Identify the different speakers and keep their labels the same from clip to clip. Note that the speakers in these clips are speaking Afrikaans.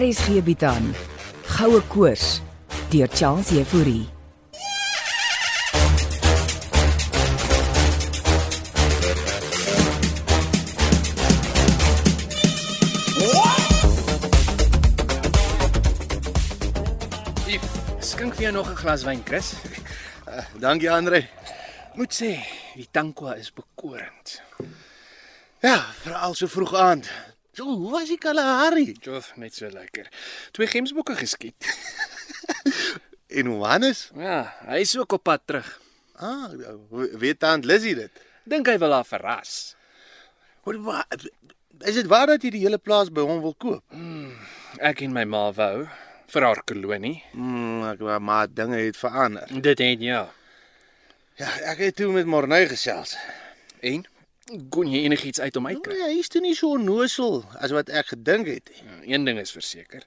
Speaker 1: RSG bied aan Goue Koors deur Charles Euphorie.
Speaker 2: Hier, skink vir jou nog 'n glas wyn, Chris. Uh, dankie, Andre. Moet sê, die tankwa is bekorend. Ja, veral so vroeg aand. So, hoe was die Kalahari? Jof, net so lekker. Twee gemsbokke geskiet.
Speaker 3: En Johannes?
Speaker 2: Ja, hy is ook op pad terug.
Speaker 3: Ah, we- weet tant Lizzie dit.
Speaker 2: Dink hy wil haar verras.
Speaker 3: Wat wa- is dit waar dat jy die hele plaas by hom wil koop?
Speaker 2: Ek en my ma wou vir haar kolonie.
Speaker 3: Mm, ek wa- maar dinge het verander.
Speaker 2: Dit het ja.
Speaker 3: Ja, ek het toe met Morney gesels.
Speaker 2: En kon jy enigiets uit hom
Speaker 3: Ja,
Speaker 2: uitkry?
Speaker 3: hy is toe nie so onnosel as wat ek gedink het.
Speaker 2: Een ding is verseker.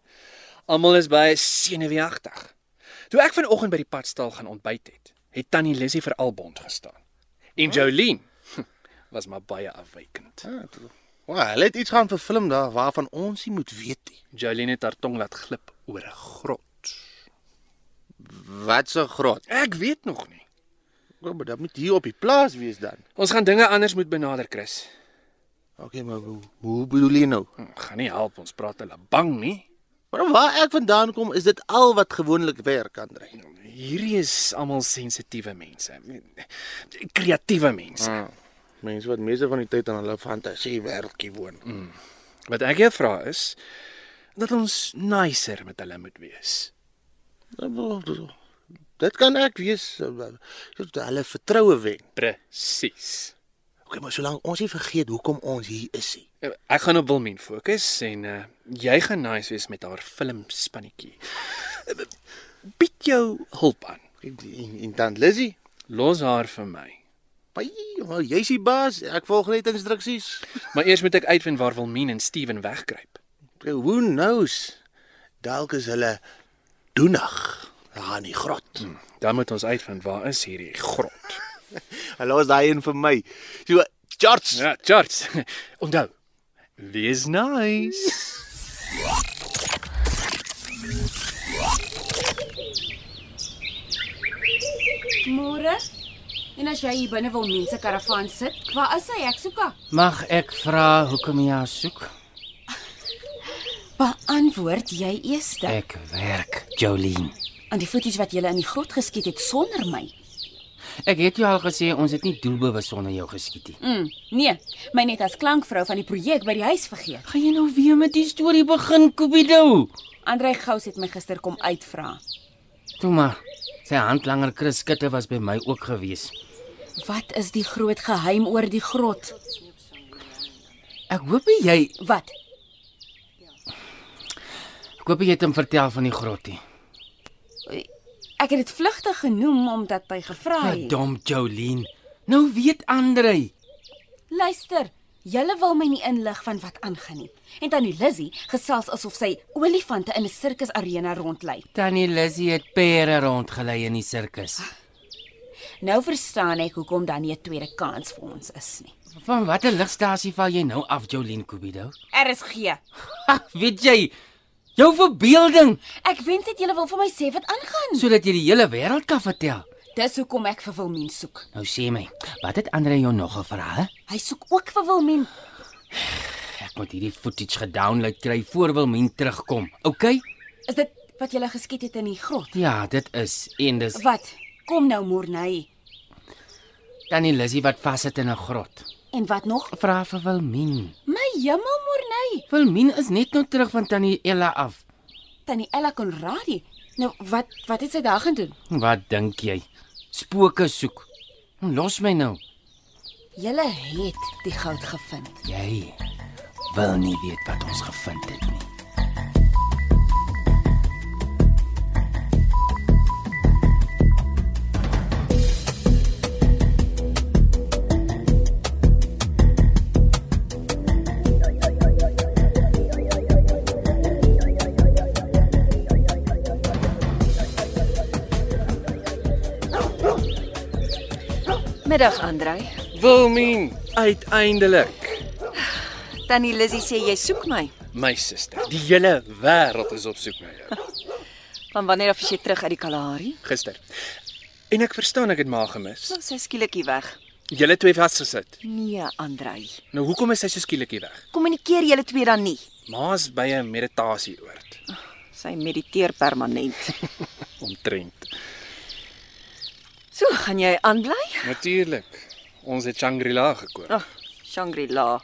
Speaker 2: Almal is baie senuweeagtig. Toe ek vanoggend by die padstal gaan ontbyt het, het Tannie Lissy vir Albond gestaan. En Jolene was maar baie
Speaker 3: Ja,
Speaker 2: afwykend.
Speaker 3: Maar hulle het iets gaan verfilm daar waarvan ons nie moet weet nie.
Speaker 2: Jolene het haar tong laat glip oor 'n grot.
Speaker 3: Wat 'n grot.
Speaker 2: Ek weet nog nie.
Speaker 3: Kom, Ja, maar dit moet hier op die plaas wees dan.
Speaker 2: Ons gaan dinge anders moet benader, Chris.
Speaker 3: Okay, maar hoe, hoe bedoel jy nou?
Speaker 2: Hm, Gaan nie help ons praat hulle bang nie.
Speaker 3: Maar waar ek vandaan kom, is dit al wat gewoonlik werk, Andre.
Speaker 2: Hierdie is almal sensitiewe mense. Kreatiewe mense.
Speaker 3: Ja. Mense wat meeste van die tyd aan hulle fantasie wêreldjie woon.
Speaker 2: Wat ek jou vra is dat ons nicer met hulle moet wees.
Speaker 3: Dit kan ek wees dat hulle vertroue wen.
Speaker 2: Presies.
Speaker 3: Okay, maar solank ons nie vergeet hoekom ons hier is nie.
Speaker 2: Ek gaan op Wilmien fokus en uh, jy gaan nice wees met haar filmspannetjie. Bied jou hulp aan.
Speaker 3: En, en- en dan Lizzy,
Speaker 2: Los haar vir my.
Speaker 3: "Pai, maar jy's die baas. Ek volg net instruksies."
Speaker 2: Maar eers moet ek uitvind waar Wilmien en Steven wegkruip.
Speaker 3: Okay, Who knows? Dalk is hulle doenig daar in die grot.
Speaker 2: Dan moet ons uitvind waar is hierdie grot.
Speaker 3: Hulle is daai een vir my. So Charles.
Speaker 2: Ja, Charles. Onthou. Wees nice.
Speaker 4: Môre? En as jy hier binne wil mense karavaan sit, waar is hy? Ek soek haar.
Speaker 5: Mag ek vra hoekom jy haar soek?
Speaker 4: Beantwoord jy eers
Speaker 5: Ek werk, Jolene.
Speaker 4: aan die voeties wat jy in die grot geskiet het sonder my.
Speaker 5: Ek het jou al gesê ons het nie doelbewus sonder jou geskiet nie.
Speaker 4: Mm, nee, my net as klankvrou van die projek by die huis vergeet.
Speaker 5: Gaan jy nou weer met die storie begin, Cupido?
Speaker 4: Andrei Gous het my gister kom uitvra.
Speaker 5: Toe maar. Sy handlanger Chris Skutte was by my ook gewees.
Speaker 4: Wat is die groot geheim oor die grot?
Speaker 5: Ek hoop nie jy,
Speaker 4: Wat?
Speaker 5: ek hoop nie jy het hom vertel van die grottie.
Speaker 4: Ek het dit vlugtig genoem omdat hy gevra het.
Speaker 5: Verdom Jolene. Nou weet Andrej.
Speaker 4: Luister, julle wil my nie inlig van wat aangaan nie. En tannie Lizzy gesels asof sy olifante in 'n sirkusarena rondlei.
Speaker 5: Tannie Lizzie het pere rondgelei in die sirkus.
Speaker 4: Nou verstaan ek hoekom dan nie 'n tweede kans vir ons is nie.
Speaker 5: Van watter ligstasie val jy nou af, Jolene Cupido?
Speaker 4: Er RSG.
Speaker 5: Ag, weet jy, jou verbeelding
Speaker 4: Ek wens net julle wil vir my sê wat aangaan.
Speaker 5: sodat jy die hele wêreld kan vertel.
Speaker 4: Dis hoekom ek vir Wilmien soek.
Speaker 5: Nou sê my, wat het Andre jou nog gevra? hè?
Speaker 4: Hy soek ook vir Wilmien.
Speaker 5: Ek moet hierdie footage gedownload kry voor Wilmien terugkom. OK?
Speaker 4: Is dit wat julle geskiet het in die grot?
Speaker 5: Ja, dit is en dis
Speaker 4: Wat? Kom nou Morney.
Speaker 5: tannie Lissy wat vassit in 'n grot.
Speaker 4: En wat nog?
Speaker 5: Vra vir Wilmien.
Speaker 4: My hemel Morney.
Speaker 5: Wilmien is net nou terug van tannie Ella af.
Speaker 4: Tannie Ella Conradie. Nou wat wat het sy daar gaan doen?
Speaker 5: Wat dink jy? Spooke soek. Los my nou.
Speaker 4: Julle het die goud gevind.
Speaker 5: Jy wil nie weet wat ons gevind het nie.
Speaker 6: Middag Andrej.
Speaker 2: Wilmien, uiteindelik.
Speaker 6: Tannie Lizzy sê jy soek my.
Speaker 2: My suster, die hele wêreld is op soek na jou.
Speaker 6: Van wanneer af is jy terug uit die Kalahari?
Speaker 2: Gister. En ek verstaan ek het maar gemis.
Speaker 6: Nou sy skielik hier weg.
Speaker 2: Julle twee het vasgesit.
Speaker 6: Nee, Andrei.
Speaker 2: Nou hoekom is hy so skielik hier weg?
Speaker 6: Kommunikeer julle twee dan nie.
Speaker 2: Ma's by 'n meditasieoord.
Speaker 6: Sy mediteer permanent.
Speaker 2: Omtrent.
Speaker 6: So, gaan jy aanbly?
Speaker 2: Natuurlik. Ons het Shangri-La gekoop.
Speaker 6: Ag, Shangri-La.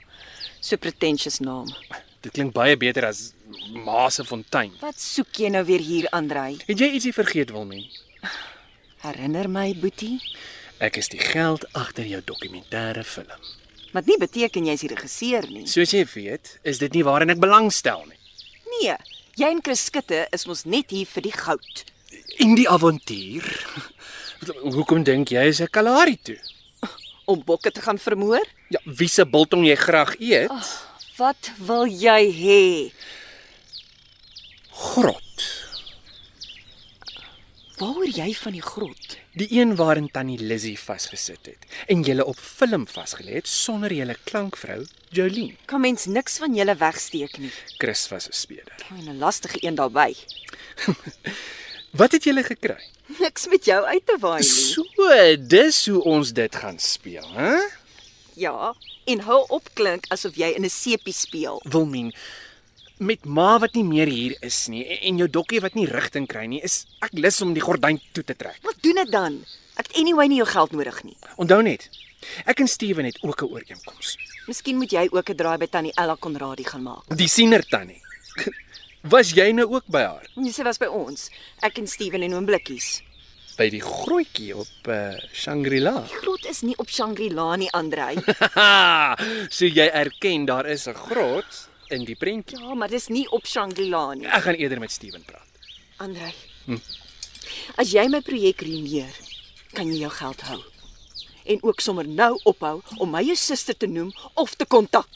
Speaker 6: So pretentious naam.
Speaker 2: Dit klink baie beter as Ma se fontein.
Speaker 6: Wat soek jy nou weer hier, Andrei?
Speaker 2: Het jy ietsie vergeet, Wilmien?
Speaker 6: Herinner my, Boetie,
Speaker 2: Ek is die geld agter jou dokumentêre film.
Speaker 6: wat nie beteken jy's die regisseur nie.
Speaker 2: Soos jy weet, is dit nie waarin ek belangstel nie.
Speaker 6: Nee, jy en Chris Skutte is mos net hier vir die goud.
Speaker 2: In die avontuur. Hoekom dink jy is ek Kalahari toe?
Speaker 6: Om bokke te gaan vermoor?
Speaker 2: Ja, wie se biltong jy graag eet? Oh.
Speaker 6: Wat wil jy hê?
Speaker 2: Grot.
Speaker 6: Waaroor jy van die grot?
Speaker 2: Die een waarin Tannie Lizzy vasgesit het en julle op film vasgelê het sonder julle klankvrou Jolene.
Speaker 6: Kan mens niks van julle wegsteek nie.
Speaker 2: Chris was 'n speeder.
Speaker 6: En 'n lastige een daarbey.
Speaker 2: Wat het julle gekry?
Speaker 6: Niks met jou uit te waai nie.
Speaker 2: So, dis hoe ons dit gaan speel, hè?
Speaker 6: Ja, en hou op klink asof jy in 'n seepie speel.
Speaker 2: Wilmien, met ma wat nie meer hier is nie en- en jou dokkie wat nie rigting kry nie, is ek lus om die gordyn toe te trek.
Speaker 6: Wat doen dit dan? Ek het anyway nie jou geld nodig nie.
Speaker 2: Onthou net, ek en Steven het ook 'n ooreenkoms.
Speaker 6: Miskien moet jy ook 'n draai by tannie Ella Konradi gaan maak.
Speaker 2: Die siener tannie. Was jy nou ook by haar?
Speaker 6: Nee, sy was by ons. Ek en Steven en oom Blikkies.
Speaker 2: By die grootjie op uh, Shangri-La.
Speaker 6: Grot is nie op Shangri-La nie, Andrei.
Speaker 2: Haha, so jy erken daar is 'n grot in die prentjie.
Speaker 6: Ja, maar dis nie op Shangri-La nie,
Speaker 2: Ek gaan eerder met Steven praat.
Speaker 6: Andrei. As jy my projek ruïneer, kan jy jou geld hou. En ook sommer nou ophou om my jou suster te noem of te kontak.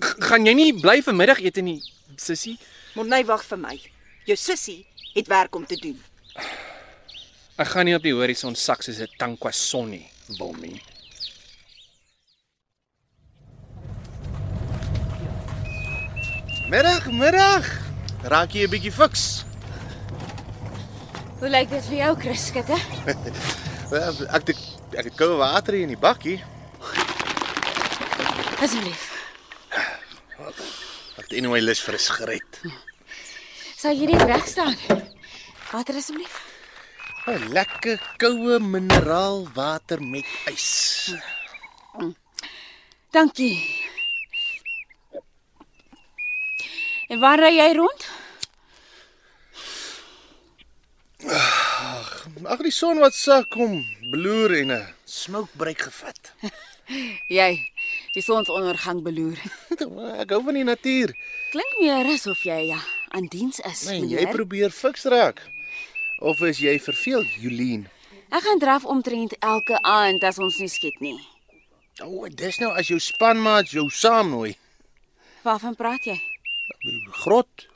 Speaker 2: G gaan jy nie bly vir middagete nie, sussie?
Speaker 6: Monney nou wag vir my. Jou sussie het werk om te doen.
Speaker 2: Ek gaan nie op die horison sak soos 'n tankwa son nie, Wilmien.
Speaker 3: Middag, middag. Raak jy 'n bietjie fiks?
Speaker 4: Hoe lyk dit vir jou, Chris Skutte?
Speaker 3: Wel, Ek het ek het koue water hier in die bakkie.
Speaker 4: Asseblief.
Speaker 3: Ek het anyway lus vir 'n sigaret.
Speaker 4: Sal jy net reg staan? Water asseblief.
Speaker 3: 'n Lekker koue mineraalwater met ys.
Speaker 4: Dankie. En waar ry jy rond?
Speaker 3: Ag, die son wat sak kom, bloer en 'n smokebreek gevat.
Speaker 4: Jy, die sonsondergang beloer.
Speaker 3: Ek hou van die natuur.
Speaker 4: Klink meer asof jy ja, aan diens is.
Speaker 3: Nee,
Speaker 4: meneer.
Speaker 3: jy probeer fiks raak. Of is jy verveeld, Jolien?
Speaker 4: Ek gaan draf omtrent elke aand as ons nie skiet nie.
Speaker 3: O, oh, dis nou as jou spanmaats jou saamnooi.
Speaker 4: Waarvan praat jy? Ah,
Speaker 3: Grot.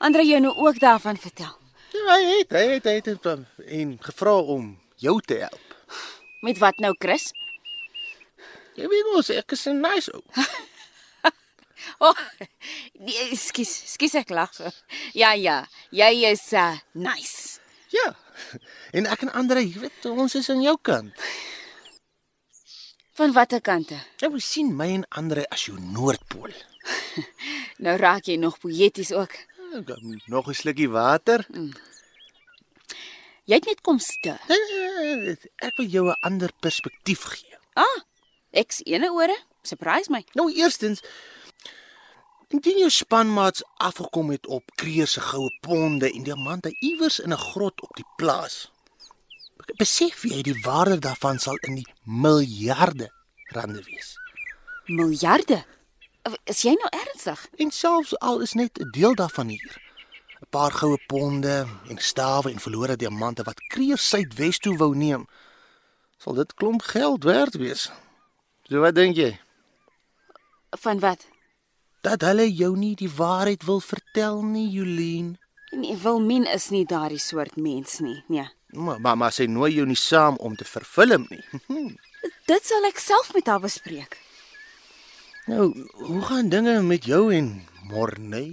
Speaker 4: Andre jou nou ook daarvan vertel.
Speaker 3: Ja, hy het, hy het, hy het hom en gevra om jou te help.
Speaker 4: Met wat nou, Chris?
Speaker 3: Jy weet mos ek is 'n nice ou.
Speaker 4: O, oh, skus, skus ek lag. so. Ja, ja, jy is uh, nice.
Speaker 3: Ja. En ek en Andre, jy weet, ons is aan jou kant.
Speaker 4: Van watter kante?
Speaker 3: Jy wil Nou, sien my en Andre as jou noordpool.
Speaker 4: Nou raak jy nog poëties ook.
Speaker 3: Ek het Nog 'n slukkie water.
Speaker 4: Jy het net kom stil.
Speaker 3: Eh, Ek wil jou 'n ander perspektief gee.
Speaker 4: Ah, ek's ene ore. Surprise my.
Speaker 3: Nou eerstens indien jou spanmaats afgekom het op kreer se goue ponde en diamante iewers in 'n grot op die plaas. Besef jy die waarde daarvan sal in die miljarde rande wees.
Speaker 4: Miljarde. Is jy nou ernstig?
Speaker 3: En selfs al is net 'n deel daarvan hier. 'n Paar goue ponde en stawe en verlore diamante wat kreer suidwes toe wou neem, sal dit klomp geld werd wees. So wat dink jy?
Speaker 4: Van wat?
Speaker 3: Dat hulle jou nie die waarheid wil vertel nie, Jolien.
Speaker 4: Nee, Wilmin is nie daardie soort mens nie. Nee.
Speaker 3: Maar maar, maar sy nooi jou nie saam om te vervilm nie.
Speaker 4: Dit sal ek self met haar bespreek.
Speaker 3: Nou, hoe gaan dinge met jou en Morney?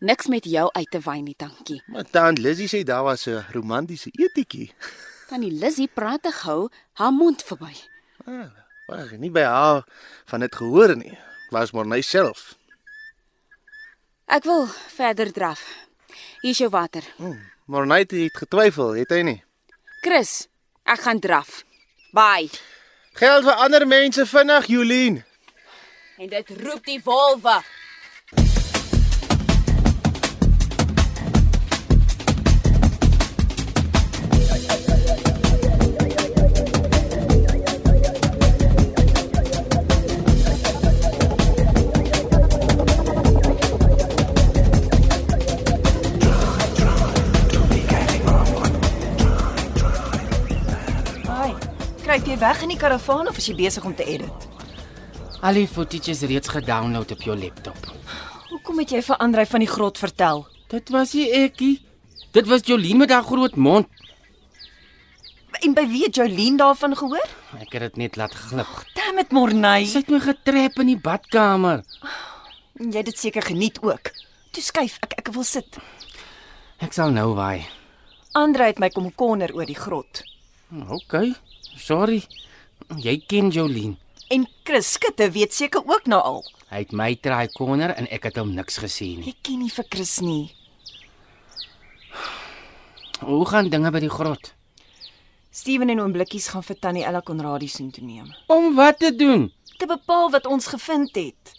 Speaker 4: Niks met jou uit te wyn nie, dankie.
Speaker 3: Maar tant Lizzie sê daar was 'n romantiese etetjie.
Speaker 4: Tannie Lizzie praat te gou, haar mond verby.
Speaker 3: Maar ek het nie by haar van dit gehoor nie. Was Morney self.
Speaker 4: Ek wil verder draf. Hier is jou water.
Speaker 3: Morney Mm, het getwyfel, het hy nie?
Speaker 4: Chris, ek gaan draf. Bye.
Speaker 3: Geld vir ander mense vinnig, Jolien.
Speaker 4: En dit roep die wolwe.
Speaker 6: Haai. Kruip jy weg in die karavaan of is jy besig om te edit?
Speaker 5: Al die footage is reeds gedownload op jou laptop.
Speaker 6: Hoekom het jy vir Andrej van die grot vertel?
Speaker 5: Dit was nie ekie. Dit was Jolien met haar groot mond.
Speaker 6: En by wie het Jolien daarvan gehoor?
Speaker 5: Ek het dit net laat glip.
Speaker 6: Damn it, Morney.
Speaker 5: Sy het my getrap in die badkamer.
Speaker 6: Jy het dit seker geniet ook. Toe skuif, ek ek wil sit.
Speaker 5: Ek sal nou waai.
Speaker 6: Andre het my kom konner oor die grot.
Speaker 5: OK. Sorry. Jy ken Jolien.
Speaker 6: En Chris Skutte weet seker ook nou al.
Speaker 5: Hy het my try corner en ek het hom niks gesê nie.
Speaker 6: Jy ken nie vir Chris nie.
Speaker 5: Hoe gaan dinge by die grot?
Speaker 6: Steven en oom Blikkies gaan vir Tannie Ella Konradie soontoe neem.
Speaker 5: Om wat te doen?
Speaker 6: Te bepaal wat ons gevind het.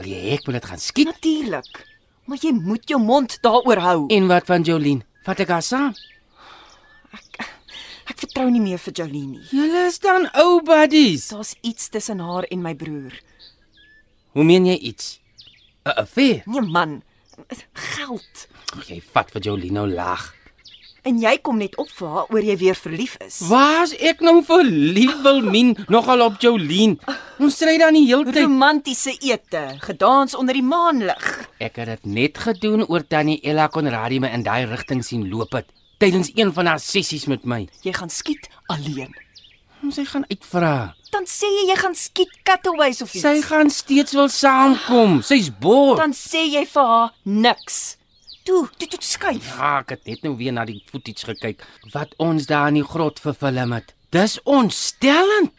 Speaker 5: Wil jy hê ek moet dit gaan skiet?
Speaker 6: Natuurlik. Maar jy moet jou mond daaroor hou.
Speaker 5: En wat van Jolien? Vat ek haar saam?
Speaker 6: Ek vertrou nie meer vir Jolene nie.
Speaker 5: Julle is dan ou buddies.
Speaker 6: Daar's iets tussen haar en my broer.
Speaker 5: Hoe meen jy iets? 'n Affair.
Speaker 6: Nee man, geld.
Speaker 5: Ag, Jy vat vir Jolien nou lag.
Speaker 6: En jy kom net op vir haar oor jy weer verlief is.
Speaker 5: Waar's ek nou verlief wil min nogal op Jolien? Ons stry dan die hele tyd.
Speaker 6: Romantiese ete, gedans onder die maanlig.
Speaker 5: Ek het dit net gedoen oor tannie Ella Konradie my in daai rigting sien loop het tydens een van haar sessies met my.
Speaker 6: Jy gaan skiet alleen.
Speaker 5: Sy gaan uitvra.
Speaker 6: Dan sê jy jy gaan skiet cutaways of iets.
Speaker 5: Sy gaan steeds wil saamkom. Sy's bor.
Speaker 6: dan sê jy vir haar niks. Toe, toe, toe skuif.
Speaker 5: Ja, ek het net nou weer na die footage gekyk wat ons daar in die grot vervilm het. Dis ontstellend.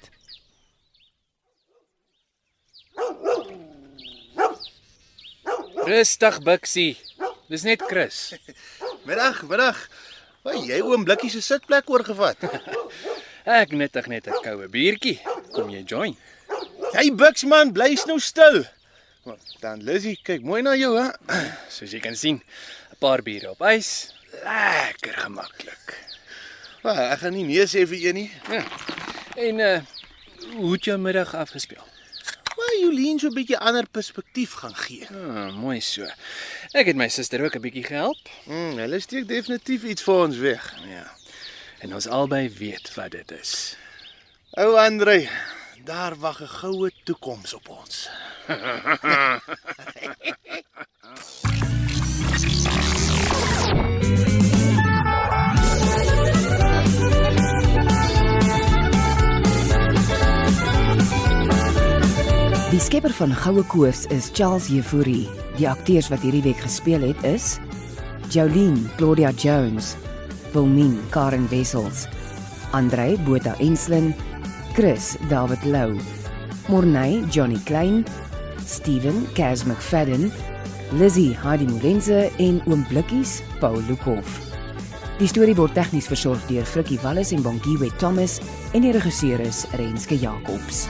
Speaker 2: Rustig, Bixie. Dis net Chris.
Speaker 3: Middag, middag. Wat jy oom Blikkie se sitplek oorgevat.
Speaker 2: Ek nuttig net 'n koue biertjie. Kom jy join?
Speaker 3: Jy buksman, bly nou stil. Dan Lizzie, kyk mooi na jou, hè?
Speaker 2: Soos jy kan sien, 'n paar biere op ys. Lekker gemaklik.
Speaker 3: Maar ek gaan nie nee sê vir een nie.
Speaker 2: En uh hoe het jou middag afgespeel?
Speaker 3: Maar Jolien so 'n bietjie ander perspektief gaan gee.
Speaker 2: Ah, mooi so. Ek het my suster ook 'n bietjie gehelp
Speaker 3: Mm, hulle steek definitief iets vir ons weg.
Speaker 2: Ja. en ons albei weet wat dit is.
Speaker 3: Ou Andre, daar wag 'n goue toekoms op ons.
Speaker 1: Die skepper van Goue Koors is Charles Jefouri. Die akteurs wat hierdie week gespeel het is Jolene Claudia Jones, Wilmien Karen Wessels, Andrei Botha Enslin, Chris David Lou, Morney Johnny Klein, Steven Cas McFadden, Lizzie Heidi Molense en Oom Blikkies Paul Lukhof. Die storie word tegnies versorg deur Frikkie Wallis en Bongiwet Thomas en die regisseur is Renske Jacobs.